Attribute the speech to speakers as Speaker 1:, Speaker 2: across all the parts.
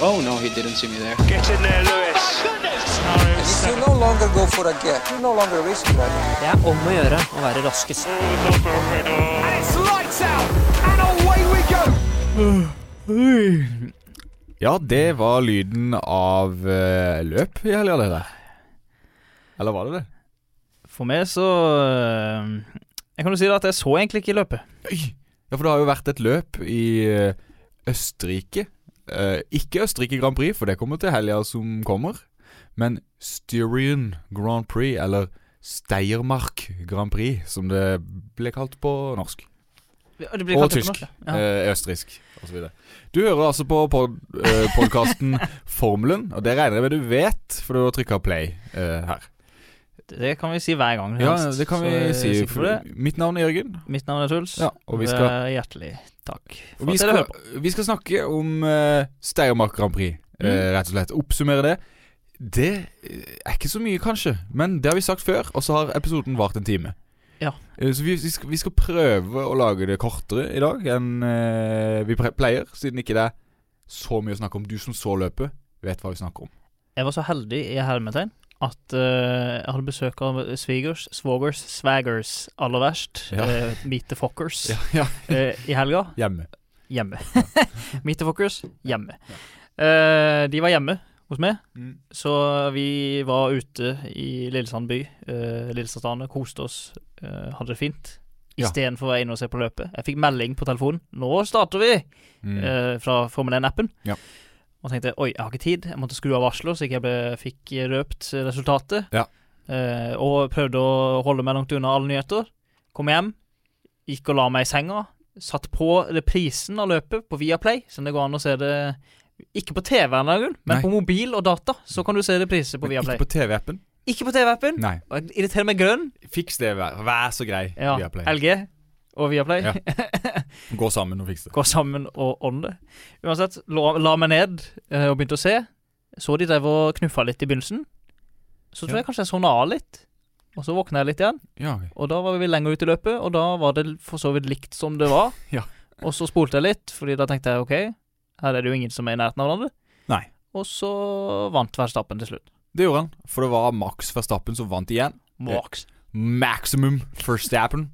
Speaker 1: Oh no, he didn't see me there.
Speaker 2: Get in there, Lewis.
Speaker 3: If you no longer go for a gap, you no longer risk that.
Speaker 4: Det er om å gjøre å være raskest.
Speaker 5: Ja, det var lyden av eh, løp i helga, det der. Eller var det det?
Speaker 6: For meg så eh, Jeg kan jo si det at jeg så egentlig ikke løpet.
Speaker 5: Oi. Ja, for det har jo vært et løp i eh, Østerrike. Eh, ikke Østerrike Grand Prix, for det kommer til helga som kommer. Men Styrian Grand Prix, eller Steiermark Grand Prix, som det ble kalt på norsk.
Speaker 6: Ja, det blir
Speaker 5: Og
Speaker 6: kalt etter
Speaker 5: tysk.
Speaker 6: norsk, ja. Ja.
Speaker 5: Eh, østerriksk osv. Du hører altså på pod, eh, podkasten Formelen, og det regner jeg med du vet, for du har trykka play eh, her.
Speaker 6: Det kan vi si hver gang.
Speaker 5: Ja,
Speaker 6: helst.
Speaker 5: det kan
Speaker 6: Så
Speaker 5: vi
Speaker 6: jeg er
Speaker 5: si.
Speaker 6: sikker på det.
Speaker 5: Mitt navn er Jørgen.
Speaker 6: Mitt navn er Truls.
Speaker 5: Ja, og vi
Speaker 6: Det
Speaker 5: skal-
Speaker 6: er Hjertelig takk.
Speaker 5: Og
Speaker 6: for
Speaker 5: Vi
Speaker 6: at dere
Speaker 5: skal,
Speaker 6: hører på.
Speaker 5: vi skal snakke om uh, Steiermark Grand Prix, eh,
Speaker 6: Mm.
Speaker 5: rett og slett. Oppsummere det. Det eh, er ikke så mye, kanskje, men det har vi sagt før, og så har episoden vart en time.
Speaker 6: Ja.
Speaker 5: Eh, så vi, vi, skal, vi skal prøve å lage det kortere i dag enn eh, vi pre- pleier, siden ikke det er så mye å snakke om. Du som så løpet, vet hva vi snakker om.
Speaker 6: Jeg var så heldig i hermetegn at eh, jeg hadde besøk av svigers, svogers, swaggers, aller verst,
Speaker 5: Ja.
Speaker 6: eh, Meet the Fockers,
Speaker 5: Ja, ja.
Speaker 6: eh, i helga.
Speaker 5: Hjemme.
Speaker 6: Hjemme. Meet the Fockers, hjemme. Eh, de var hjemme hos meg, så vi var ute i Lillesand by, uh, Lillesandane, koste oss, eh, hadde det fint.
Speaker 5: Ja.
Speaker 6: Istedenfor å være inne og se på løpet. Jeg fikk melding på telefonen 'Nå starter vi!'
Speaker 5: Mm.
Speaker 6: eh, fra Formel 1-appen.
Speaker 5: Ja.
Speaker 6: Og tenkte oi, jeg har ikke tid. Jeg måtte skru av varselet, så ikke jeg ble, fikk røpt resultatet.
Speaker 5: Ja.
Speaker 6: Eh, og prøvde å holde meg langt unna alle nyheter. Kom hjem, gikk og la meg i senga. Satt på reprisen av løpet på Viaplay, så det går an å se det ikke på TV, en gang, men
Speaker 5: Nei.
Speaker 6: på mobil og data. Så kan du se repriser på
Speaker 5: Men
Speaker 6: Viaplay.
Speaker 5: Ikke på TV-appen?
Speaker 6: Ikke på TV-appen.
Speaker 5: Nei.
Speaker 6: Og jeg Irriterer meg grønn.
Speaker 5: Fiks det, vær, vær så grei.
Speaker 6: Ja,
Speaker 5: Viaplay.
Speaker 6: LG og Viaplay.
Speaker 5: Ja. Gå sammen og fiks det.
Speaker 6: gå sammen og ånde. Uansett, la, la meg ned eh, og begynte å se. Så de drev og knuffa litt i begynnelsen. Så tror
Speaker 5: Ja.
Speaker 6: jeg kanskje jeg sovna av litt. Og så våkna jeg litt igjen,
Speaker 5: Ja, ok.
Speaker 6: og da var vi lenger ute i løpet. Og da var det for så vidt likt som det var.
Speaker 5: Ja.
Speaker 6: Og så spolte jeg litt, Fordi da tenkte jeg ok, her er det jo ingen som er i nærheten av hverandre.
Speaker 5: Nei.
Speaker 6: Og så vant Verstappen til slutt.
Speaker 5: Det gjorde han, for det var Max Verstappen som vant igjen.
Speaker 6: Max.
Speaker 5: Maximum Verstappen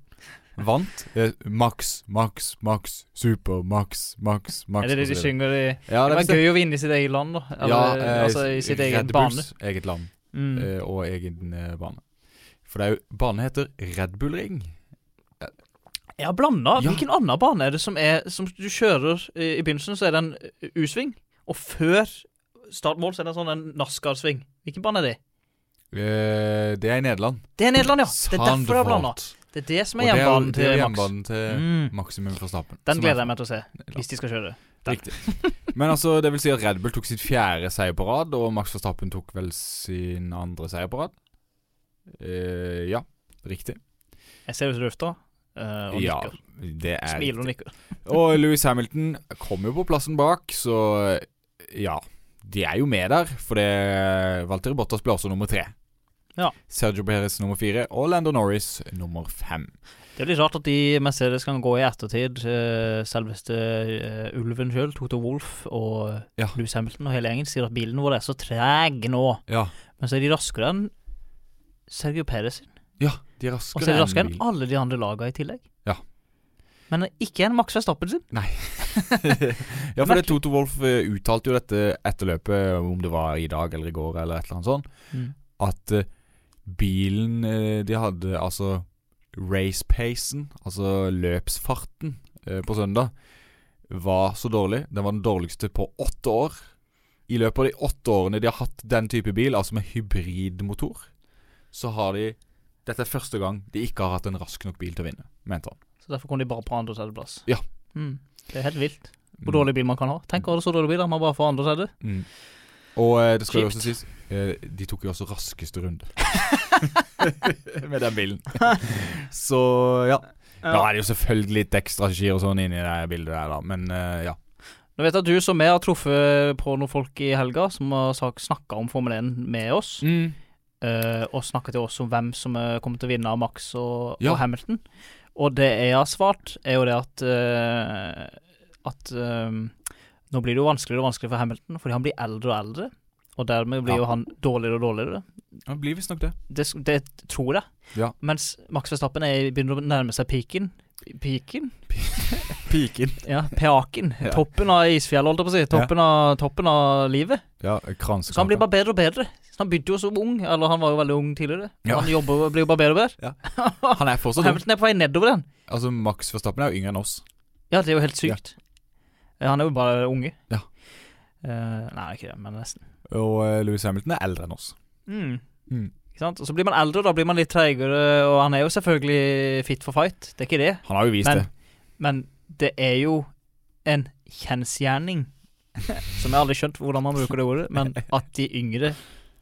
Speaker 5: vant. Eh, Max, Max, Max, Super, Max, Max, Max.
Speaker 6: er det det de
Speaker 5: og så videre.
Speaker 6: synger i
Speaker 5: Ja,
Speaker 6: Det
Speaker 5: det
Speaker 6: var gøy å vinne i sitt eget land, da. Eller, altså i sitt egen bane.
Speaker 5: eh, eget land
Speaker 6: Mm.
Speaker 5: eh, og egen eh, bane. For det er jo Banen heter Red Bull Ring.
Speaker 6: Ja, blanda.
Speaker 5: Ja.
Speaker 6: Hvilken annen bane er det som, er, som du kjører eh, i begynnelsen, så er det en eh, U-sving, og før startmål så er det en sånn en NASCAR-sving. Hvilken bane er det?
Speaker 5: Eh, det er i Nederland.
Speaker 6: Det er Nederland, ja! Det er derfor det er blanda.
Speaker 5: Sandvoort.
Speaker 6: Det er det som
Speaker 5: Og
Speaker 6: er
Speaker 5: det jo-
Speaker 6: hjemmebanen
Speaker 5: det
Speaker 6: til
Speaker 5: er
Speaker 6: Max.
Speaker 5: jo hjemmebanen til
Speaker 6: Mm.
Speaker 5: Maximum Verstappen.
Speaker 6: Den gleder jeg meg til å se, hvis de skal kjøre. til.
Speaker 5: Riktig. Men altså, det vil si at Red Bull tok sitt fjerde seier på rad, og Max Verstappen tok vel sin andre seier på rad. Eh, ja, riktig.
Speaker 6: Jeg ser ut i lufta eh, og
Speaker 5: ja,
Speaker 6: nikker.
Speaker 5: det er
Speaker 6: Smiler og
Speaker 5: riktig.
Speaker 6: nikker.
Speaker 5: Og Louis Hamilton kom jo på plassen bak, så ja. De er jo med der, for det Valtteri Bottas ble også nummer tre.
Speaker 6: Ja.
Speaker 5: Sergio Perez nummer fire, og Lando Norris nummer fem.
Speaker 6: Det er litt rart at de Mercedes kan gå i ettertid. eh, selveste eh, ulven sjøl, Toto Wolff og
Speaker 5: Ja.
Speaker 6: Louis Hamilton og hele gjengen, sier at bilen vår er så treg nå.
Speaker 5: Ja,
Speaker 6: Men så er de raskere enn Sergio Perez sin.
Speaker 5: de er
Speaker 6: Og
Speaker 5: raskere
Speaker 6: så er de raskere
Speaker 5: enn
Speaker 6: enn
Speaker 5: bil.
Speaker 6: alle de andre lagene i tillegg.
Speaker 5: Ja.
Speaker 6: Men ikke enn Max Verstappen sin.
Speaker 5: Ja, for det Toto Wolff eh, uttalte jo dette etter løpet, om det var i dag eller i går eller et eller annet sånt. at eh, bilen eh, de hadde, altså race-pacen, altså løpsfarten eh, på søndag, var så dårlig. Den var den dårligste på åtte år. I løpet av de åtte årene de har hatt den type bil, altså med hybridmotor, så har de Dette er første gang de ikke har hatt en rask nok bil til å vinne, mente han.
Speaker 6: Så derfor kom de bare på andre- og tredjeplass.
Speaker 5: Ja.
Speaker 6: Mm. Det er helt vilt hvor dårlig bil man kan ha. Tenk å ha det så dårlig bil, da. Man bare får andre- og tredje.
Speaker 5: Mm. Og eh, det skal jo
Speaker 6: Kjipt.
Speaker 5: også sies, eh, de tok jo også raskeste runde. Med den bilen. Så ja. Da er det jo selvfølgelig litt ekstraski og sånn inni det bildet der, da. Men eh, ja.
Speaker 6: Nå vet jeg at du som jeg har truffet på noen folk i helga som har snakka om Formel 1 med oss, eh, og snakka til oss om hvem som eh, kommer til å vinne av Max og,
Speaker 5: Ja.
Speaker 6: og Hamilton. Og det jeg har svart, er jo det at eh, at eh, Nå blir det jo vanskeligere og vanskeligere for Hamilton, fordi han blir eldre og eldre. Og dermed blir
Speaker 5: Ja.
Speaker 6: jo han dårligere og dårligere.
Speaker 5: Det blir visstnok det.
Speaker 6: Det, det tror jeg.
Speaker 5: Ja.
Speaker 6: Mens Max Verstappen er, begynner å nærme seg peaken. Peaken?
Speaker 5: Piken.
Speaker 6: Ja, peaken.
Speaker 5: Ja.
Speaker 6: Toppen av isfjellet, holdt jeg på å si. Toppen, av, toppen av livet.
Speaker 5: Ja, eh,
Speaker 6: Så han blir
Speaker 5: kransekake.
Speaker 6: bare bedre og bedre. Så han begynte jo som ung, eller han var jo veldig ung tidligere.
Speaker 5: Ja.
Speaker 6: Han jobber, blir jo bare bedre og bedre.
Speaker 5: Han er
Speaker 6: Og
Speaker 5: fortsatt ung.
Speaker 6: Hamilton er på vei nedover den.
Speaker 5: Altså, Max Verstappen er jo yngre enn oss.
Speaker 6: Ja, det er jo helt sykt. Ja. Han er jo bare unge.
Speaker 5: Ja.
Speaker 6: Eh, nei, ikke det, men nesten.
Speaker 5: Og eh, Lewis Hamilton er eldre enn oss.
Speaker 6: Mm.
Speaker 5: Mm.
Speaker 6: Ikke sant? Og så blir man eldre, og da blir man litt treigere, og han er jo selvfølgelig fit for fight, det er ikke det.
Speaker 5: Han har jo vist
Speaker 6: Men-
Speaker 5: det.
Speaker 6: Men det er jo en kjensgjerning, som jeg aldri skjønt hvordan man bruker det ordet, men at de yngre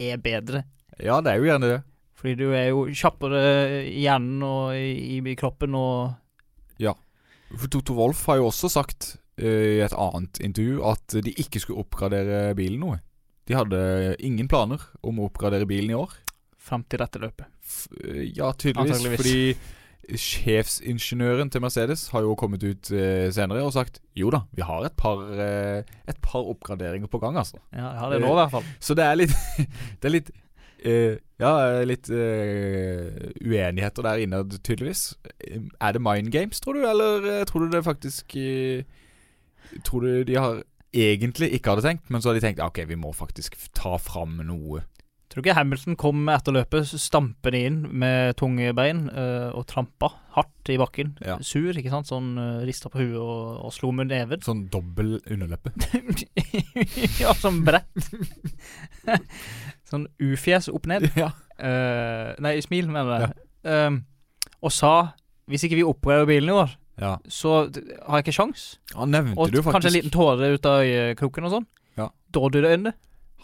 Speaker 6: er bedre.
Speaker 5: Ja, det er jo gjerne det.
Speaker 6: Fordi du er jo kjappere i hjernen og i, i kroppen og
Speaker 5: For Toto Wolff har jo også sagt eh, i et annet intervju at de ikke skulle oppgradere bilen noe. De hadde ingen planer om å oppgradere bilen i år.
Speaker 6: fram til dette løpet.
Speaker 5: F eh, ja, tydeligvis.
Speaker 6: Antageligvis.
Speaker 5: Fordi sjefsingeniøren til Mercedes har jo kommet ut eh, senere og sagt jo da, vi har et par, eh, et par oppgraderinger på gang, altså.
Speaker 6: Ja, jeg har det nå i hvert fall.
Speaker 5: Så det er litt Det er litt eh, Ja, litt eh, uenigheter der innad, tydeligvis. Er det mind games, tror du, eller eh, tror du det faktisk eh, Tror du de har egentlig ikke hadde tenkt, men så har de tenkt "Ah, OK, vi må faktisk ta fram noe.
Speaker 6: Tror du ikke Hamilton kom etter løpet s- stampende inn med tunge bein eh, og trampa hardt i bakken.
Speaker 5: Ja.
Speaker 6: Sur, ikke sant. Sånn uh, rista på huet og, og slo med neven.
Speaker 5: Sånn dobbel underleppe.
Speaker 6: ja, sånn brett. sånn ufjes opp ned.
Speaker 5: ja.
Speaker 6: Eh, nei, smil, mener jeg. Ehm, og sa hvis ikke vi oppgraderer bilen i år,
Speaker 5: ja.
Speaker 6: så d- har jeg ikke sjans.
Speaker 5: Han nevnte
Speaker 6: Og
Speaker 5: det jo
Speaker 6: kanskje en
Speaker 5: faktisk
Speaker 6: liten tåre ut av øyekroken og sånn.
Speaker 5: Ja.
Speaker 6: Dårlige øyne.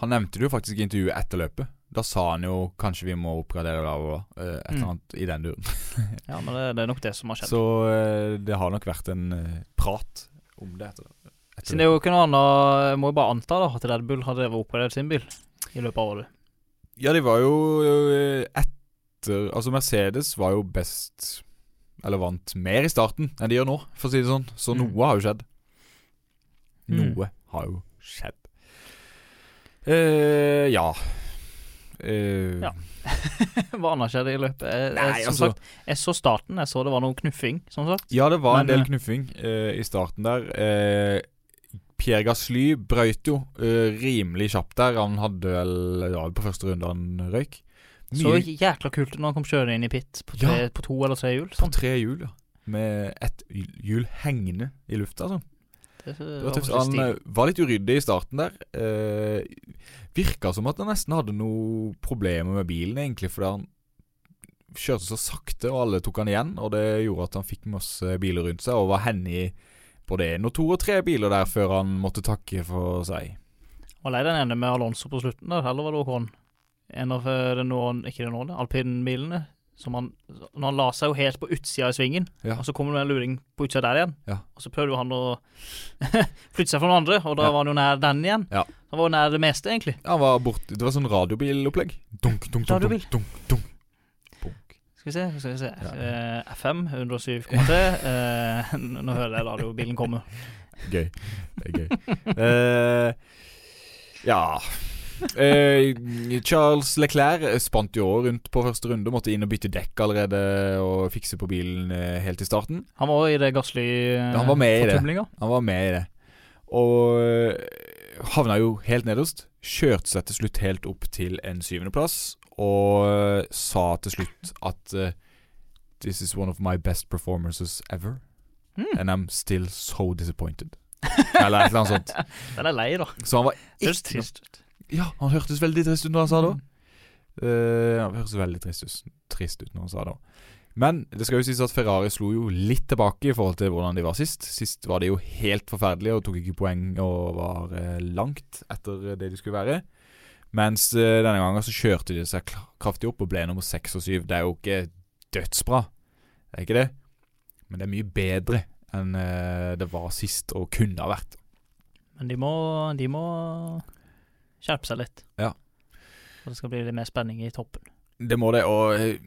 Speaker 5: Han nevnte det jo faktisk i intervjuet etter løpet. Da sa han jo kanskje vi må oppgradere bla, bla, bla. eh, Et
Speaker 6: Mm.
Speaker 5: eller annet i den duren.
Speaker 6: Ja, men det, det er nok det som har skjedd.
Speaker 5: Så eh, det har nok vært en eh, prat om det etter, etter
Speaker 6: Siden det er jo ikke noe annet Jeg må jo bare anta da at Red Bull har drevet og oppgradert sin bil i løpet av året.
Speaker 5: Ja, de var jo eh, etter Altså, Mercedes var jo best Eller vant mer i starten enn de gjør nå, for å si det sånn. Så
Speaker 6: Mm.
Speaker 5: noe har jo skjedd.
Speaker 6: Mm.
Speaker 5: Noe har jo skjedd. Eh, ja. Eh,
Speaker 6: Ja. Hva annet skjedde i løpet? Jeg,
Speaker 5: Nei,
Speaker 6: jeg, som
Speaker 5: altså-
Speaker 6: sagt, jeg så starten. Jeg så det var noe knuffing, som sagt.
Speaker 5: Ja, det var
Speaker 6: Men,
Speaker 5: en del
Speaker 6: eh,
Speaker 5: knuffing eh, i starten der. Eh, Pierre Gasly brøyt jo eh, rimelig kjapt der. Han hadde vel ja, På første runde han røyk.
Speaker 6: Så jækla kult når han kom kjørende inn i pit på, tre, på to eller tre hjul.
Speaker 5: på
Speaker 6: Sånn.
Speaker 5: tre hjul, ja. Med ett hjul hengende i lufta. Sånn.
Speaker 6: Det,
Speaker 5: Det
Speaker 6: var
Speaker 5: var tøft.
Speaker 6: faktisk
Speaker 5: Han
Speaker 6: stil.
Speaker 5: eh, var litt uryddig i starten der. Eh, virka som at han nesten hadde noe problemer med bilen, egentlig, fordi han kjørte så sakte, og alle tok han igjen. Og det gjorde at han fikk masse biler rundt seg, og var henne i både én og to og tre biler der før han måtte takke for seg.
Speaker 6: Var lei den ene med Alonso på slutten der, eller var det Håkon? En av eh, Renault, ikke Renault, alpinbilene. Som han, når han la seg jo helt på utsida i svingen,
Speaker 5: Ja.
Speaker 6: og så kommer det en luring på utsida der igjen.
Speaker 5: Ja.
Speaker 6: Og så prøvde jo han å flytte seg fra noen andre, og da
Speaker 5: Ja.
Speaker 6: var han jo nær den igjen.
Speaker 5: Ja.
Speaker 6: Han var jo nær det meste, egentlig.
Speaker 5: Han var borte Det var sånn radiobilopplegg. Dunk, dunk, dunk,
Speaker 6: Radiobil.
Speaker 5: dunk, dunk, dunk. Bunk.
Speaker 6: Skal vi se, skal vi se.
Speaker 5: Ja.
Speaker 6: Eh, FM 107,3. Eh, nå hører jeg radiobilen komme.
Speaker 5: Gøy. Det er gøy. Eh, ja Eh, Charles Leclerc spant jo også rundt på første runde. Måtte inn og bytte dekk allerede og fikse på bilen eh, helt i starten.
Speaker 6: Han var i det gassly eh,
Speaker 5: Han var med i det.
Speaker 6: fortumlinga.
Speaker 5: Han var med i det. Og eh, havna jo helt nederst. Kjørte seg til slutt helt opp til en syvendeplass og eh, sa til slutt at eh, This is one of my best performances ever,
Speaker 6: Mm.
Speaker 5: and I'm still so disappointed. Eller et eller annet sånt.
Speaker 6: Den er lei, da.
Speaker 5: Så han var
Speaker 6: Det høres trist ut.
Speaker 5: Ja, han hørtes veldig trist ut når han sa det òg.
Speaker 6: Mm.
Speaker 5: han hørtes veldig trist ut, trist ut når han sa det òg. Men det skal jo sies at Ferrari slo jo litt tilbake i forhold til hvordan de var sist. Sist var de jo helt forferdelige og tok ikke poeng og var eh, langt etter eh, det de skulle være. Mens eh, denne gangen så kjørte de seg kla- kraftig opp og ble nummer seks og syv. Det er jo ikke dødsbra, det er ikke det. Men det er mye bedre enn eh, det var sist og kunne ha vært.
Speaker 6: Men de må, de må skjerpe seg litt.
Speaker 5: Ja.
Speaker 6: For det skal bli litt mer spenning i toppen.
Speaker 5: Det må det, og eh,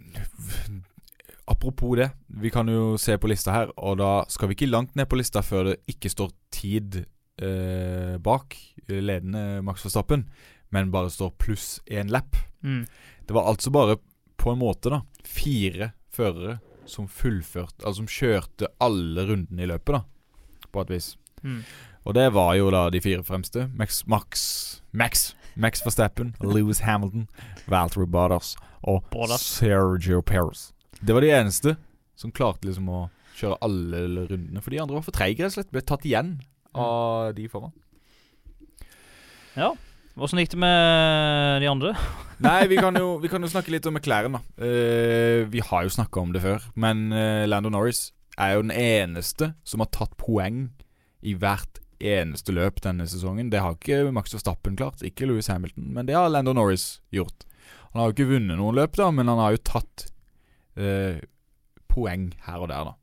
Speaker 5: apropos det. Vi kan jo se på lista her, og da skal vi ikke langt ned på lista før det ikke står tid eh, bak eh, ledende Max Verstappen, men bare står pluss én lapp.
Speaker 6: Mm.
Speaker 5: Det var altså bare, på en måte, da fire førere som fullførte Altså som kjørte alle rundene i løpet, da. På et vis.
Speaker 6: Mm.
Speaker 5: Og det var jo da de fire fremste. Max Max Max, Max Verstappen, Lewis Hamilton, Valtteri Bottas og
Speaker 6: Bottas.
Speaker 5: Sergio Perez. Det var de eneste som klarte liksom å kjøre alle rundene. For de andre var for treige, rett og slett. Ble tatt igjen av de foran.
Speaker 6: Ja. Åssen gikk det med de andre?
Speaker 5: Nei, vi kan, jo, vi kan jo snakke litt om McLaren, da. Eh, vi har jo snakka om det før, men eh, Lando Norris er jo den eneste som har tatt poeng i hvert eneste løp denne sesongen. Det har ikke Max Verstappen klart, ikke Louis Hamilton, men det har Lando Norris gjort. Han har jo ikke vunnet noen løp, da, men han har jo tatt eh, poeng her og der, da.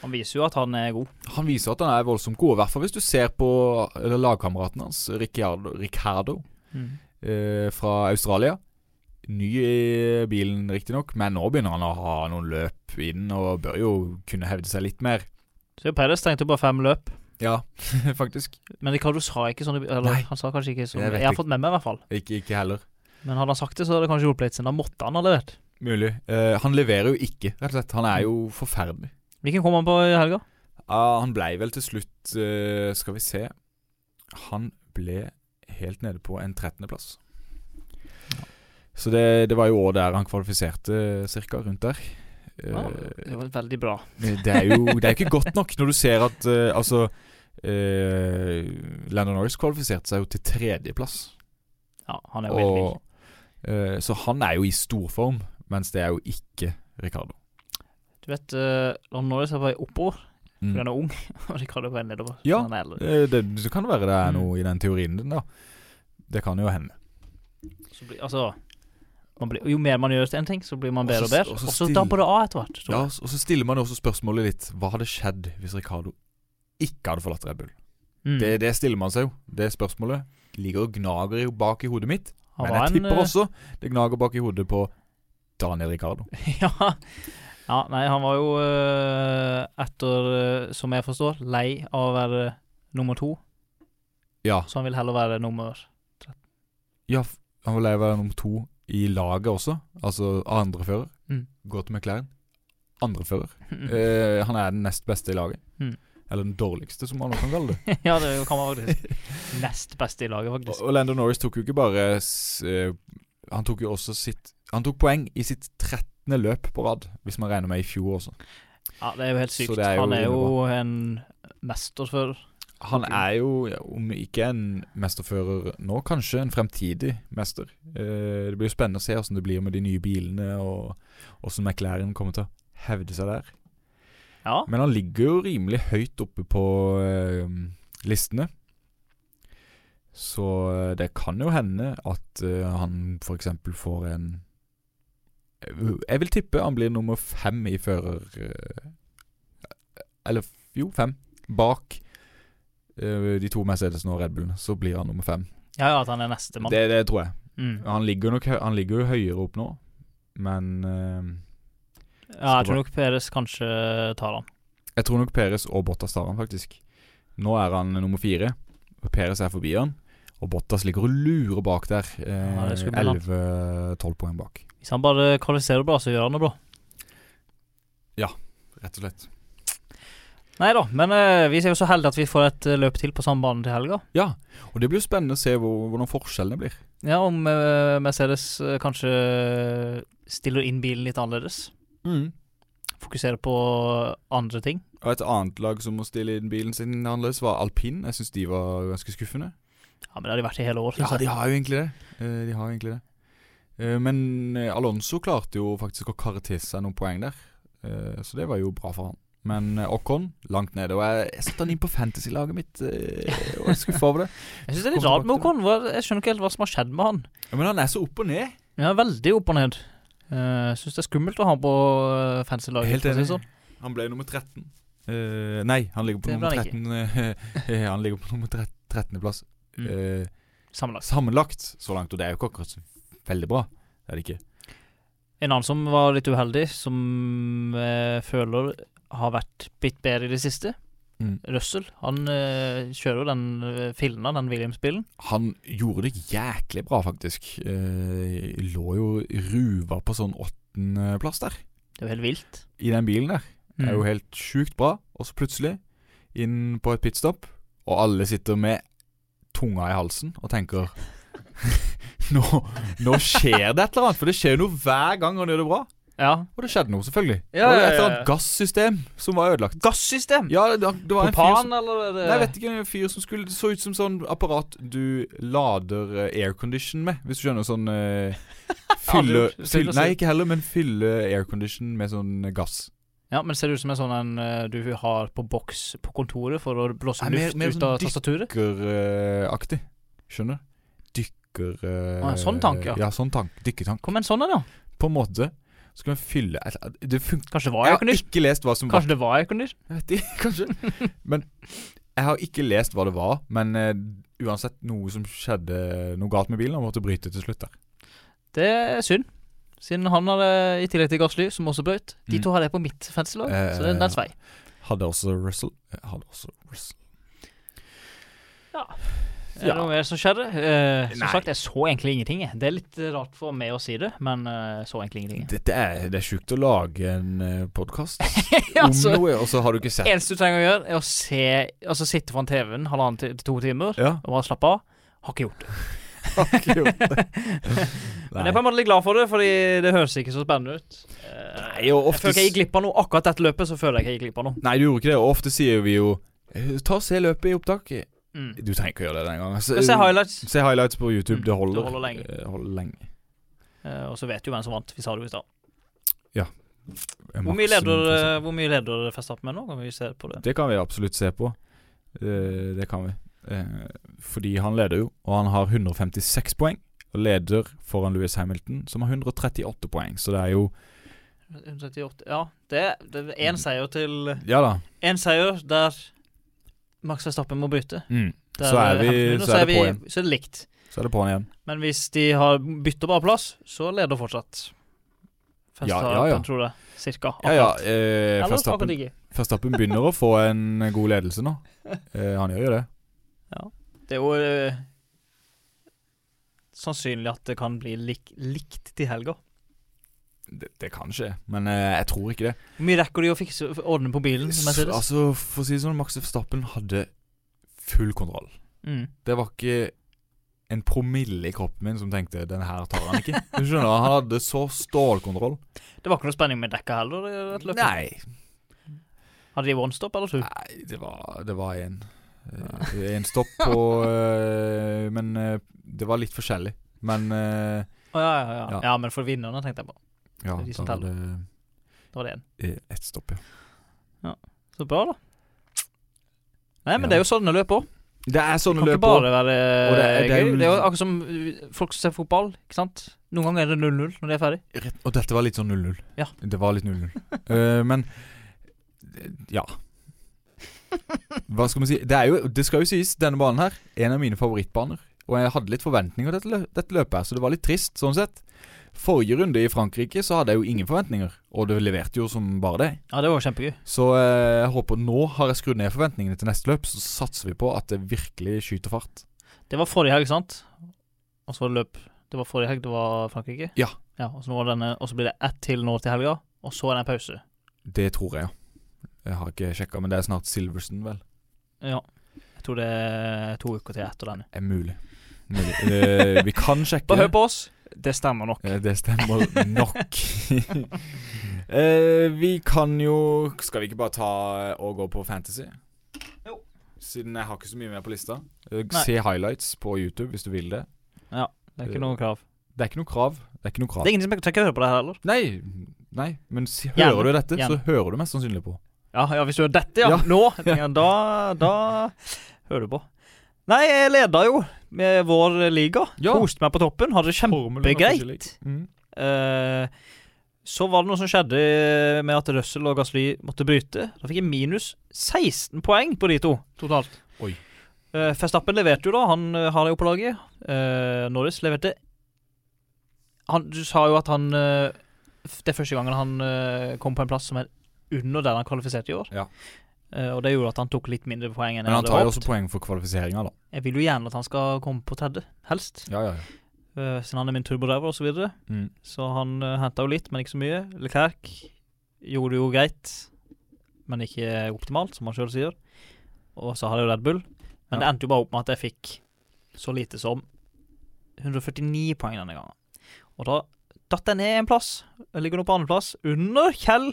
Speaker 6: Han viser jo at han er god.
Speaker 5: Han viser at han er voldsomt god, i hvert fall hvis du ser på eller lagkameraten hans, Ricardo, Ricardo eh, fra Australia. Ny i bilen, riktignok, men nå begynner han å ha noen løp i den og bør jo kunne hevde seg litt mer.
Speaker 6: Så Perez trengte bare fem løp.
Speaker 5: Ja, faktisk.
Speaker 6: Men Ricardo sa ikke sånn i- Eller
Speaker 5: Nei.
Speaker 6: han sa kanskje ikke sånn.
Speaker 5: Jeg
Speaker 6: Jeg,
Speaker 5: vet
Speaker 6: har
Speaker 5: ikke.
Speaker 6: fått med meg, i hvert fall.
Speaker 5: Ikke, ikke heller.
Speaker 6: Men hadde han sagt det, så hadde det kanskje hjulpet litt, siden da måtte han ha levert.
Speaker 5: Mulig. Eh, han leverer jo ikke, rett og slett. Han er jo forferdelig.
Speaker 6: Hvilken kom han på i helga?
Speaker 5: Ah, han blei vel til slutt eh, Skal vi se. Han ble helt nede på en 13.-plass. Så det, det var jo òg der han kvalifiserte, cirka. Rundt der. Eh,
Speaker 6: Ja, det var veldig bra.
Speaker 5: det er jo det er ikke godt nok når du ser at eh, altså eh, Landon Norris kvalifiserte seg jo til tredjeplass.
Speaker 6: Ja, han er jo helt vill.
Speaker 5: Og, eh, så han er jo i storform, mens det er jo ikke Ricardo.
Speaker 6: Du vet, uh, Lon Norris er på vei oppover,
Speaker 5: Mm.
Speaker 6: for han er ung, og Ricardo er på vei nedover. for
Speaker 5: Ja.
Speaker 6: Han er eldre.
Speaker 5: Eh, Det, det kan være det er
Speaker 6: Mm.
Speaker 5: noe i den teorien din, da. Det kan jo hende.
Speaker 6: Så blir, altså, man blir, jo mer man gjør til en ting, så blir man bedre og
Speaker 5: Også-
Speaker 6: bedre.
Speaker 5: også
Speaker 6: Og så
Speaker 5: still-
Speaker 6: dabber det av etter hvert. tror
Speaker 5: Ja,
Speaker 6: jeg.
Speaker 5: og så stiller man jo også spørsmålet litt Hva hadde skjedd hvis Ricardo ikke hadde forlatt Red Bull?
Speaker 6: Mm.
Speaker 5: Det, det stiller man seg jo. Det spørsmålet ligger og gnager i- bak i hodet mitt.
Speaker 6: Han
Speaker 5: Men
Speaker 6: var
Speaker 5: jeg
Speaker 6: en,
Speaker 5: tipper
Speaker 6: eh,
Speaker 5: også det gnager bak i hodet på Daniel Ricardo.
Speaker 6: ja. ja, nei, han var jo eh, etter, eh, som jeg forstår, lei av å være eh, nummer to,
Speaker 5: Ja,
Speaker 6: så han vil heller være nummer
Speaker 5: ja f- han vil være nummer to i laget også. Altså andrefører.
Speaker 6: Mm.
Speaker 5: Går til McLaren. Andrefører. Eh, han er den nest beste i laget.
Speaker 6: Mm.
Speaker 5: Eller den dårligste, som man nå kan kalle det.
Speaker 6: Ja, det kan man faktisk. Nest beste i laget, faktisk.
Speaker 5: Og og Lando Norris tok jo ikke bare s- eh, Han tok jo også sitt Han tok poeng i sitt 13. løp på rad, hvis man regner med i fjor også.
Speaker 6: Ja, Det er jo helt sykt.
Speaker 5: Så det er jo
Speaker 6: han er jo
Speaker 5: innebra.
Speaker 6: en mesterfører.
Speaker 5: Han
Speaker 6: Mm.
Speaker 5: er jo, ja, om ikke en mesterfører nå, kanskje en fremtidig mester. Eh, det blir jo spennende å se hvordan det blir med de nye bilene, og hvordan McLaren kommer til å hevde seg der.
Speaker 6: Ja.
Speaker 5: Men han ligger jo rimelig høyt oppe på eh, listene. Så eh, det kan jo hende at eh, han f.eks. får en Jeg vil tippe han blir nummer fem i fører... eh, Eller f- jo, fem. Bak eh, de to Mercedesene og Red Bullene. Så blir han nummer fem.
Speaker 6: ja, ja, at han er neste mann.
Speaker 5: Det, det tror jeg.
Speaker 6: Mm.
Speaker 5: Han ligger, nok, hø- han ligger jo høyere opp nå, men eh,
Speaker 6: Ja, jeg tror nok Peres kanskje tar han.
Speaker 5: Jeg tror nok Peres og Bottas tar han faktisk. Nå er han nummer fire. og Peres er forbi han. Og Bottas ligger og lurer bak der.
Speaker 6: Ja, det er skummelt, han.
Speaker 5: 11-12 poeng bak.
Speaker 6: Hvis han bare kvalifiserer bra, så gjør han det bra.
Speaker 5: Rett og slett.
Speaker 6: Nei da, men eh, vi er jo så heldige at vi får et eh, løp til på samme bane til helga.
Speaker 5: Ja, og det blir jo spennende å se hvor, hvordan forskjellene blir.
Speaker 6: Ja, om eh, Mercedes eh, kanskje eh, stiller inn bilen litt annerledes. Fokuserer på eh, andre ting.
Speaker 5: Mm. Og et annet lag som må stille inn bilen sin annerledes, var alpin. Jeg syns de var ganske skuffende.
Speaker 6: Ja, men det har de vært i hele år. synes jeg.
Speaker 5: de har jo egentlig det. Eh, De har egentlig det. Eh, Men eh, Alonso klarte jo faktisk å karre til seg noen poeng der, Eh, så det var jo bra for han. Men eh, Ocon langt nede. Og jeg, jeg satte han inn på fantasy-laget mitt eh, og er skuffa over det.
Speaker 6: Jeg syns det er litt
Speaker 5: Kommer
Speaker 6: rart med
Speaker 5: tilbake
Speaker 6: Ocon. Hva- Jeg skjønner ikke helt hva som har skjedd med han.
Speaker 5: Ja, men han er så opp og ned.
Speaker 6: Ja, veldig opp og ned. Uh, Syns det er skummelt å ha på eh, fancy-laget.
Speaker 5: Helt
Speaker 6: for å si
Speaker 5: enig.
Speaker 6: det sånn.
Speaker 5: Han ble nummer 13. Eh, nei, han ligger på
Speaker 6: Det ble
Speaker 5: nummer
Speaker 6: han
Speaker 5: 13. eh, han ligger på nummer 13.-plass
Speaker 6: Mm.
Speaker 5: Eh.
Speaker 6: Sammenlagt.
Speaker 5: sammenlagt så langt, og det er jo ikke akkurat så veldig bra. Det er det ikke.
Speaker 6: En annen som eh, var litt uheldig, som jeg føler har vært litt bedre i det siste,
Speaker 5: Mm.
Speaker 6: Russell. Han eh, kjører jo den eh, filmen, den Williams-bilen.
Speaker 5: Han gjorde det jæklig bra, faktisk. Eh, lå jo ruva på sånn åttendeplass der,
Speaker 6: Det er jo helt vilt.
Speaker 5: i den bilen der. Det er jo
Speaker 6: Mm.
Speaker 5: helt sjukt bra. Og så plutselig, inn på et pitstop, og alle sitter med tunga i halsen og tenker nå, nå skjer det et eller annet, for det skjer noe hver gang han gjør det bra.
Speaker 6: Ja.
Speaker 5: Og det skjedde noe, selvfølgelig.
Speaker 6: Ja,
Speaker 5: det var
Speaker 6: ja,
Speaker 5: et eller annet
Speaker 6: ja.
Speaker 5: gassystem som var ødelagt.
Speaker 6: Gassystem!
Speaker 5: Ja, det, det var en fyr som
Speaker 6: Propan, eller er det
Speaker 5: Nei, jeg vet ikke, en fyr som skulle Det så ut som sånn apparat du lader eh, aircondition med, hvis du skjønner sånn eh,
Speaker 6: Ja,
Speaker 5: Fylle,
Speaker 6: du-
Speaker 5: fylle
Speaker 6: fylle-
Speaker 5: Nei, ikke heller, men fylle aircondition med sånn gass.
Speaker 6: Ja, men ser det ut som en sånn en eh, du har på boks på kontoret for å blåse
Speaker 5: Nei, mer-
Speaker 6: luft
Speaker 5: mer
Speaker 6: ut
Speaker 5: sånn
Speaker 6: av
Speaker 5: dyk-
Speaker 6: tastaturet?
Speaker 5: Dykkeraktig. Skjønner? Dykker... eh,
Speaker 6: Å, en sånn tank, ja.
Speaker 5: Ja, sånn tank. Dykketank.
Speaker 6: Kom en sånn en, ja.
Speaker 5: På en måte så kan vi fylle et- Det funker
Speaker 6: Kanskje det var
Speaker 5: Jeg har
Speaker 6: aircondition?
Speaker 5: ikke lest hva som var
Speaker 6: Kanskje det var aircondition?
Speaker 5: Jeg vet ikke, kanskje. Men jeg har ikke lest hva det var. Men eh, uansett noe som skjedde noe galt med bilen, og måtte bryte til slutt der.
Speaker 6: Det er synd. Siden han hadde, eh, i tillegg til gasslys, som også brøt De
Speaker 5: Mm.
Speaker 6: to hadde jeg på mitt fengsel òg,
Speaker 5: Eh,
Speaker 6: så det er dens vei.
Speaker 5: Hadde også Russell. Jeg Hadde også Russell.
Speaker 6: Er det noe mer som skjedde? Eh, som
Speaker 5: Nei.
Speaker 6: sagt, jeg så egentlig ingenting. jeg. Det er litt eh, rart for meg å si det, men eh, jeg så egentlig ingenting. jeg.
Speaker 5: Dette er, det er sjukt å lage en podkast
Speaker 6: altså,
Speaker 5: om noe, og så har du ikke sett
Speaker 6: eneste du trenger å gjøre, er å se Altså sitte foran TV-en halvannen til til to timer
Speaker 5: Ja,
Speaker 6: og bare slappe av. Har ikke gjort det.
Speaker 5: har ikke gjort det.
Speaker 6: Men jeg er på en måte litt glad for det, Fordi det høres ikke så spennende ut. Eh,
Speaker 5: Nei, og
Speaker 6: Jeg føler ikke jeg gikk glipp av noe akkurat dette løpet, så føler jeg ikke jeg gikk glipp av noe.
Speaker 5: Nei, du gjorde ikke det. Og ofte sier vi jo eh, Ta og se løpet i opptak.
Speaker 6: Mm.
Speaker 5: Du trenger ikke å gjøre det den gangen. altså.
Speaker 6: Skal se highlights,
Speaker 5: Se highlights på YouTube.
Speaker 6: Mm,
Speaker 5: Det holder.
Speaker 6: det holder lenge.
Speaker 5: Eh, holder lenge.
Speaker 6: Eh, og så vet du hvem som vant. Vi sa det jo i stad.
Speaker 5: Eh,
Speaker 6: Hvor mye
Speaker 5: maksimum
Speaker 6: leder,
Speaker 5: prosent.
Speaker 6: eh, hvor mye leder Verstappen med nå? Kan vi se på det?
Speaker 5: Det kan vi absolutt se på. Eh, det kan vi. Eh, fordi han leder jo, og han har 156 poeng. Og leder foran Lewis Hamilton, som har 138 poeng. Så det er jo
Speaker 6: 138 Ja, det det er
Speaker 5: Mm.
Speaker 6: én seier til
Speaker 5: Ja da.
Speaker 6: En seier der Max Verstappen må bryte.
Speaker 5: Mm.
Speaker 6: Der
Speaker 5: Så er vi-
Speaker 6: Hamilton vinner,
Speaker 5: så er det på igjen.
Speaker 6: Så er det likt.
Speaker 5: Så er det på'n igjen.
Speaker 6: Men hvis de har bytter bare plass, så leder fortsatt.
Speaker 5: Ja,
Speaker 6: Verstappen,
Speaker 5: ja, ja.
Speaker 6: tror jeg. Cirka.
Speaker 5: Ja, ja.
Speaker 6: akkurat.
Speaker 5: Eh,
Speaker 6: Eller akkurat
Speaker 5: Verstappen-
Speaker 6: ikke.
Speaker 5: Verstappen begynner å få en god ledelse nå. Eh, han gjør jo det.
Speaker 6: Det er jo eh, sannsynlig at det kan bli lik, likt til helga.
Speaker 5: Det, det kan skje, men eh, jeg tror ikke det.
Speaker 6: Hvor mye rekker de å fikse ordne på bilen? Som
Speaker 5: S-
Speaker 6: Mercedes?
Speaker 5: Altså, For å si det sånn, Max Verstappen hadde full kontroll.
Speaker 6: Mm.
Speaker 5: Det var ikke en promille i kroppen min som tenkte 'den her tar han ikke'. Du skjønner, Han hadde så stålkontroll.
Speaker 6: Det var ikke noe spenning med dekka heller? eh, i dette løpet.
Speaker 5: Nei.
Speaker 6: Hadde de one stop eller two?
Speaker 5: Nei, det var, det var en eh, En stopp på eh, Men eh, det var litt forskjellig. Men eh,
Speaker 6: Å, ja, ja, ja.
Speaker 5: Ja.
Speaker 6: ja. men for vinnerne tenkte jeg på.
Speaker 5: ja,
Speaker 6: Det er de som
Speaker 5: da var det
Speaker 6: Da var det én.
Speaker 5: eh, ett stopp, ja.
Speaker 6: Så bra, da. Nei, men
Speaker 5: Ja. Sånn
Speaker 6: det er jo sånne løp òg.
Speaker 5: Det er
Speaker 6: Det
Speaker 5: sånne
Speaker 6: kan ikke
Speaker 5: løp òg.
Speaker 6: bare være eh,
Speaker 5: Og det er- det er
Speaker 6: gøy.
Speaker 5: jo-
Speaker 6: Det er jo akkurat som uh, folk som ser fotball. ikke sant? Noen ganger er det 0-0 når de er ferdig.
Speaker 5: Rett- Og dette var litt sånn 0-0.
Speaker 6: Ja.
Speaker 5: Det var litt 0-0. Eh, men eh, ja. Hva skal man si? Det, er jo, det skal jo sies, denne banen her, en av mine favorittbaner. Og jeg hadde litt forventninger til dette, lø- dette løpet, her, så det var litt trist sånn sett. Forrige runde i Frankrike så hadde jeg jo ingen forventninger, og det leverte jo som bare det.
Speaker 6: Ja, det var jo kjempegøy.
Speaker 5: Så eh, jeg håper nå har jeg skrudd ned forventningene til neste løp, så satser vi på at det virkelig skyter fart.
Speaker 6: Det var forrige helg, sant? Og så var det løp. Det var forrige helg det var Frankrike?
Speaker 5: Ja.
Speaker 6: ja og, så nå var denne, og så blir det ett til nå til helga, og så er det en pause.
Speaker 5: Det tror jeg, ja. Jeg har ikke sjekka, men det er snart Silverstone, vel.
Speaker 6: Ja. Jeg tror det er to uker til etter denne.
Speaker 5: er mulig. mulig. Eh, vi kan sjekke
Speaker 6: Bare hør
Speaker 5: det.
Speaker 6: på oss. Det stemmer nok.
Speaker 5: Eh, det stemmer nok. Eh, vi kan jo Skal vi ikke bare ta og gå på Fantasy?
Speaker 6: Jo.
Speaker 5: Siden jeg har ikke så mye mer på lista. Eh,
Speaker 6: Nei.
Speaker 5: se highlights på YouTube hvis du vil det.
Speaker 6: Det er ikke noe krav.
Speaker 5: Det er ikke noe krav. Det er ikke noe
Speaker 6: Det
Speaker 5: krav.
Speaker 6: er ingen som trenger å høre på det her heller.
Speaker 5: Nei, nei, men si,
Speaker 6: Gjerne.
Speaker 5: hører du dette, så
Speaker 6: Gjerne.
Speaker 5: hører du mest sannsynlig på.
Speaker 6: Ja, ja, hvis du gjør dette, ja.
Speaker 5: Ja.
Speaker 6: Nå. Ja, da, da hører du på. Nei, jeg leda jo med vår liga.
Speaker 5: Ja.
Speaker 6: Koste meg på toppen. Hadde det
Speaker 5: Formelen er
Speaker 6: kjempegreit.
Speaker 5: forskjellig. Mm.
Speaker 6: Eh, så var det noe som skjedde eh, med at Russell og Gasly måtte bryte. Da fikk jeg minus 16 poeng på de to totalt.
Speaker 5: Oi.
Speaker 6: Eh, Verstappen leverte jo, da. Han eh, har det jo på laget. Eh, Norris leverte han, Du sa jo at han eh, f- Det er første gangen han eh, kom på en plass som er under der han kvalifiserte i år.
Speaker 5: Ja.
Speaker 6: Eh, og det gjorde at han tok litt mindre poeng enn
Speaker 5: Men
Speaker 6: jeg
Speaker 5: han
Speaker 6: hadde
Speaker 5: tar jo
Speaker 6: håpet.
Speaker 5: også poeng for kvalifiseringa, da.
Speaker 6: Jeg vil jo gjerne at han skal komme på tredje, helst.
Speaker 5: Ja, ja, ja.
Speaker 6: Eh, siden han er min turbodriver og Så, videre.
Speaker 5: Mm.
Speaker 6: så han uh, henta jo litt, men ikke så mye. Leclerc gjorde det jo greit, men ikke optimalt, som han sjøl sier. Og så hadde jeg jo Red Bull. Men det
Speaker 5: Ja.
Speaker 6: endte jo bare opp med at jeg fikk så lite som 149 poeng denne gangen. Og da datt jeg ned en plass. Jeg ligger nå på andreplass, under Kjell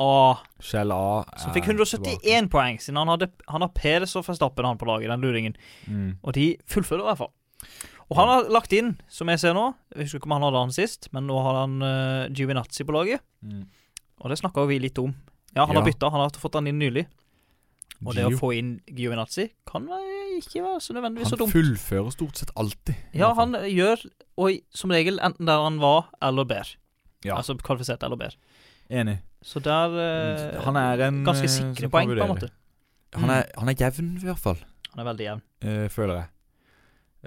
Speaker 6: A.
Speaker 5: Kjell A
Speaker 6: Som
Speaker 5: er
Speaker 6: fikk 171 poeng, siden han, hadde, han har Peres og Verstappen han på laget, den luringen.
Speaker 5: tilbake. Mm.
Speaker 6: Og de fullfører i hvert fall. Og han har lagt inn, som jeg ser nå Jeg husker ikke om han hadde han sist, men nå har han uh, Giovinazzi på laget.
Speaker 5: Mm.
Speaker 6: Og det snakka jo vi litt om. Ja, han har
Speaker 5: Ja.
Speaker 6: bytta, han har fått han inn nylig. Og det å
Speaker 5: Gio.
Speaker 6: få inn Giovinazzi kan være- ikke være så nødvendigvis så
Speaker 5: Han
Speaker 6: dumt.
Speaker 5: fullfører stort sett alltid. i
Speaker 6: Ja,
Speaker 5: hvert fall.
Speaker 6: han gjør og som regel enten der han var, eller bedre.
Speaker 5: Ja.
Speaker 6: Altså kvalifisert eller bedre.
Speaker 5: Enig.
Speaker 6: Så der eh,
Speaker 5: Han er en eh,
Speaker 6: Ganske
Speaker 5: som
Speaker 6: sikre
Speaker 5: kan
Speaker 6: poeng, på
Speaker 5: vurdere.
Speaker 6: en måte.
Speaker 5: Han er,
Speaker 6: Mm.
Speaker 5: han er jevn, i hvert fall,
Speaker 6: Han er veldig jevn.
Speaker 5: eh, føler jeg.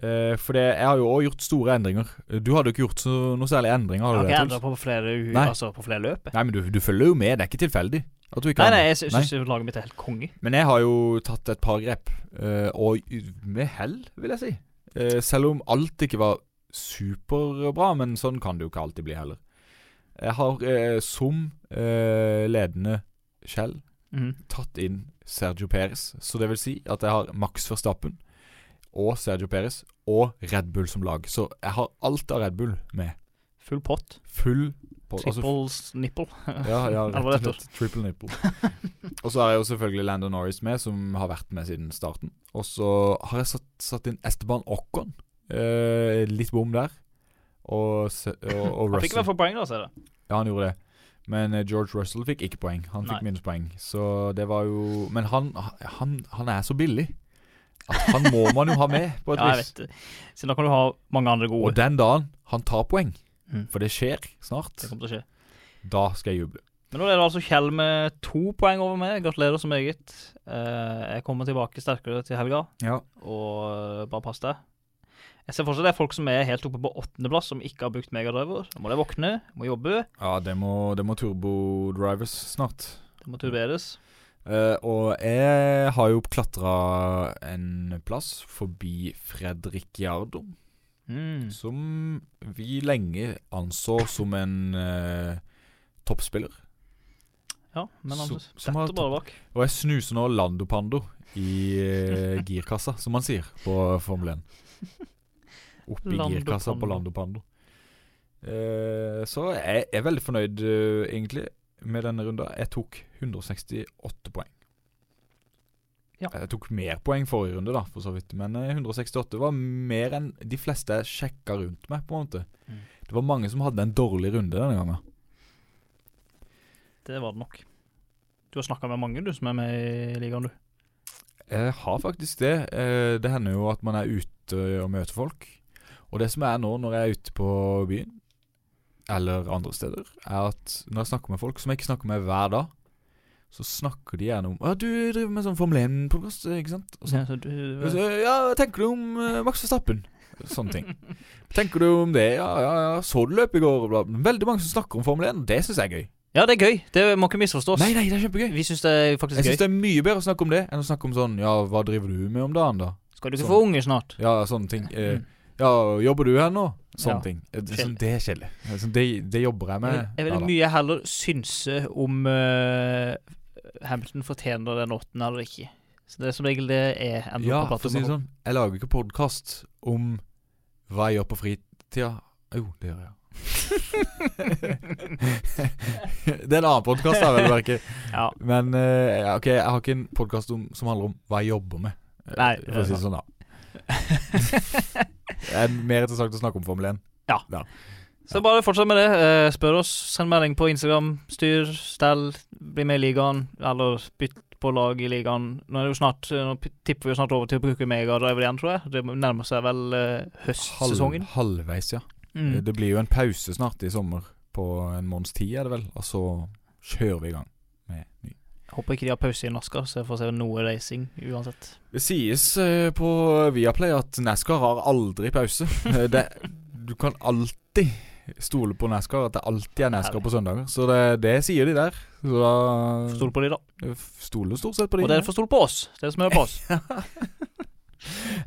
Speaker 5: Eh, for det, jeg har jo òg gjort store endringer. Eh, Du hadde jo ikke gjort så, noe særlig endringer.
Speaker 6: Jeg
Speaker 5: Hadde
Speaker 6: har ikke
Speaker 5: du
Speaker 6: endra
Speaker 5: det,
Speaker 6: på flere, u-
Speaker 5: Nei.
Speaker 6: altså, på flere løp. jeg.
Speaker 5: Nei, men du, du følger jo med. Det er ikke tilfeldig. At du ikke
Speaker 6: Nei,
Speaker 5: har
Speaker 6: nei,
Speaker 5: endret.
Speaker 6: jeg sy- syns jo laget mitt er helt konge.
Speaker 5: Men jeg har jo tatt et par grep, eh, og y- med hell, vil jeg si. Eh, selv om alt ikke var superbra, men sånn kan det jo ikke alltid bli heller. Jeg har eh, som eh, ledende Shell
Speaker 6: Mhm.
Speaker 5: tatt inn Sergio Perez, så det vil si at jeg har Max Verstappen og Sergio Perez og Red Bull som lag. Så jeg har alt av Red Bull med.
Speaker 6: Full pott.
Speaker 5: Full på, altså
Speaker 6: Triples nipple.
Speaker 5: ja, ja,
Speaker 6: Eller
Speaker 5: rett
Speaker 6: hva det
Speaker 5: og
Speaker 6: heter.
Speaker 5: slett. Triple nipple. og så er jo selvfølgelig Landon Norris med, som har vært med siden starten. Og så har jeg satt, satt inn Esteban Ocon. Eh, litt bom der. Og, se- og, og
Speaker 6: Han fikk i hvert
Speaker 5: Russell.
Speaker 6: fall poeng, da, ser jeg.
Speaker 5: Ja, han gjorde det. Men eh, George Russell fikk ikke poeng. Han fikk
Speaker 6: Nei.
Speaker 5: minuspoeng. Så det var jo Men han, han, han er så billig at han må man jo ha med, på et
Speaker 6: Ja, jeg
Speaker 5: vis.
Speaker 6: vet det. Så da kan du ha mange andre
Speaker 5: Og
Speaker 6: gode.
Speaker 5: den dagen han tar poeng,
Speaker 6: Mm.
Speaker 5: for det skjer snart,
Speaker 6: Det kommer til å skje.
Speaker 5: da skal jeg juble.
Speaker 6: Men nå er det altså Kjell med to poeng over meg. Gratulerer så meget. Eh, jeg kommer tilbake sterkere til helga,
Speaker 5: Ja.
Speaker 6: og eh, bare pass deg. Jeg ser fortsatt det er folk som er helt oppe på åttendeplass, som ikke har brukt megadriver. Da må de våkne, må jobbe,
Speaker 5: Ja, det må, det må turbo-drivers snart.
Speaker 6: det må turberes.
Speaker 5: Eh, og jeg har jo klatra en plass forbi Fredrik Jardo,
Speaker 6: Mm.
Speaker 5: som vi lenge anså som en eh, toppspiller.
Speaker 6: Ja, men han
Speaker 5: Så- som har
Speaker 6: detter bare bak.
Speaker 5: Og jeg snuser nå Lando Pando i eh, girkassa, som man sier på Formel 1. Oppi
Speaker 6: Lando
Speaker 5: girkassa på
Speaker 6: Pando.
Speaker 5: Lando Pando. Eh, så jeg er veldig fornøyd, eh, egentlig, med denne runda. Jeg tok 168 poeng.
Speaker 6: Ja.
Speaker 5: Jeg tok mer poeng forrige runde, da, for så vidt. Men eh, 168 var mer enn de fleste jeg sjekka rundt meg, på en måte.
Speaker 6: Mm.
Speaker 5: Det var mange som hadde en dårlig runde denne gangen.
Speaker 6: Det var det nok. Du har snakka med mange, du, som er med i ligaen, du.
Speaker 5: Jeg Eh, har faktisk det. Eh, Det hender jo at man er ute og møter folk. Og det som er nå når jeg er ute på byen, eller andre steder, er at når jeg snakker med folk som jeg ikke snakker med hver dag, så snakker de gjerne om Ja, du driver med sånn Formel 1-podkast, ikke sant? Og så,
Speaker 6: Ja, så du,
Speaker 5: og så, ja, hva tenker du om eh, Max Verstappen? Sånne ting. Tenker du om det? Ja, ja, ja. Så du løpet i går? og Bla. bla. Veldig mange som snakker om Formel 1. Det syns jeg er gøy.
Speaker 6: ja, det er gøy. Det må ikke misforstås.
Speaker 5: Nei, nei, det er kjempegøy.
Speaker 6: Vi syns det er faktisk
Speaker 5: Jeg syns
Speaker 6: gøy.
Speaker 5: det er mye bedre å snakke om det enn å snakke om sånn Ja, hva driver du med om dagen, da?
Speaker 6: Skal du ikke
Speaker 5: sånn.
Speaker 6: få unge snart?
Speaker 5: Ja, sånne ting. Eh,
Speaker 6: Mm.
Speaker 5: ja, jobber du her nå? Sånne
Speaker 6: Ja.
Speaker 5: ting. Eh, Det,
Speaker 6: Kjedelig.
Speaker 5: sånn, det er kjedelig. Eh, sånn, det, det jobber
Speaker 6: Jeg
Speaker 5: jeg med.
Speaker 6: vil, jeg vil
Speaker 5: hver dag.
Speaker 6: mye heller synse om eh, Hamilton fortjener den åttende eller ikke. Så det er som regel det er ender
Speaker 5: ja,
Speaker 6: på
Speaker 5: for å si det sånn. Jeg lager ikke podkast om hva jeg gjør på fritida. Jo, det gjør jeg. det er en annen podkast, da, vel å merke.
Speaker 6: Ja.
Speaker 5: Men eh, ja, ok, jeg har ikke en podkast som handler om hva jeg jobber med. eh,
Speaker 6: Nei,
Speaker 5: for å si det sånn, da. Det er mer interessant å snakke om Formel 1.
Speaker 6: Så bare fortsett med det. Eh, spør oss, send melding på Instagram. Styr, stell, bli med i ligaen, eller bytt på lag i ligaen. Nå, er det jo snart, eh, nå p- tipper vi jo snart over til å bruke megadriver igjen, tror jeg. Det nærmer seg vel eh, høstsesongen.
Speaker 5: halvveis, ja.
Speaker 6: Mm.
Speaker 5: Det blir jo en pause snart i sommer, på en måneds tid er det vel, og så kjører vi i gang med ny.
Speaker 6: Håper ikke de har pause i NASCAR, så jeg får se noe racing uansett.
Speaker 5: Det sies eh, på Viaplay at NASCAR har aldri pause. Eh, det, du kan alltid stoler på NASCAR, at det alltid er NASCAR på søndager. Så det, det sier de der. Så da
Speaker 6: Stol på de, da.
Speaker 5: Jeg f- Stoler stort sett Mm. på de.
Speaker 6: Og dere får stole på oss. Dere som hører på oss.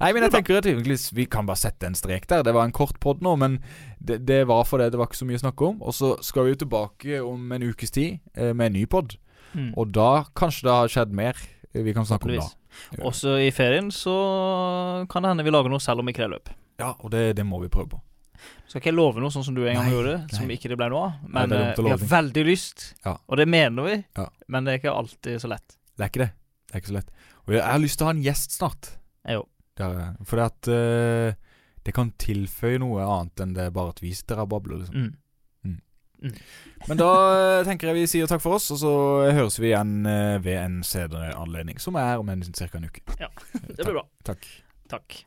Speaker 5: Nei, men jeg tenker at egentlig s- vi kan bare sette en strek der. Det var en kort pod nå, men det, det var fordi det var ikke så mye å snakke om. Og så skal vi jo tilbake om en ukes tid eh, med en ny pod.
Speaker 6: Mm.
Speaker 5: Og da kanskje det har skjedd mer eh, vi kan snakke om da.
Speaker 6: Forhåpentligvis. Også i ferien så kan det hende vi lager noe selv om ikke det er løp.
Speaker 5: Ja, og det, det må vi prøve på.
Speaker 6: Skal ikke jeg love noe sånn som du en gang
Speaker 5: Nei,
Speaker 6: gjorde, som
Speaker 5: nei.
Speaker 6: ikke det ble noe av. Men
Speaker 5: det er
Speaker 6: eh,
Speaker 5: dumt å
Speaker 6: vi har
Speaker 5: love.
Speaker 6: veldig lyst,
Speaker 5: Ja.
Speaker 6: og det mener vi.
Speaker 5: Ja.
Speaker 6: Men det er ikke alltid så lett.
Speaker 5: Det er ikke det. Det er ikke så lett. Og jeg, jeg har lyst til å ha en gjest snart.
Speaker 6: Jeg òg.
Speaker 5: Det har jeg. Fordi at eh, det kan tilføye noe annet enn det er bare at vi sitter her og babler, liksom.
Speaker 6: Mm.
Speaker 5: Men da eh, tenker jeg vi sier takk for oss, og så høres vi igjen eh, ved en senere anledning, som er om en ca. en uke.
Speaker 6: Det blir bra.
Speaker 5: Takk.
Speaker 6: Takk.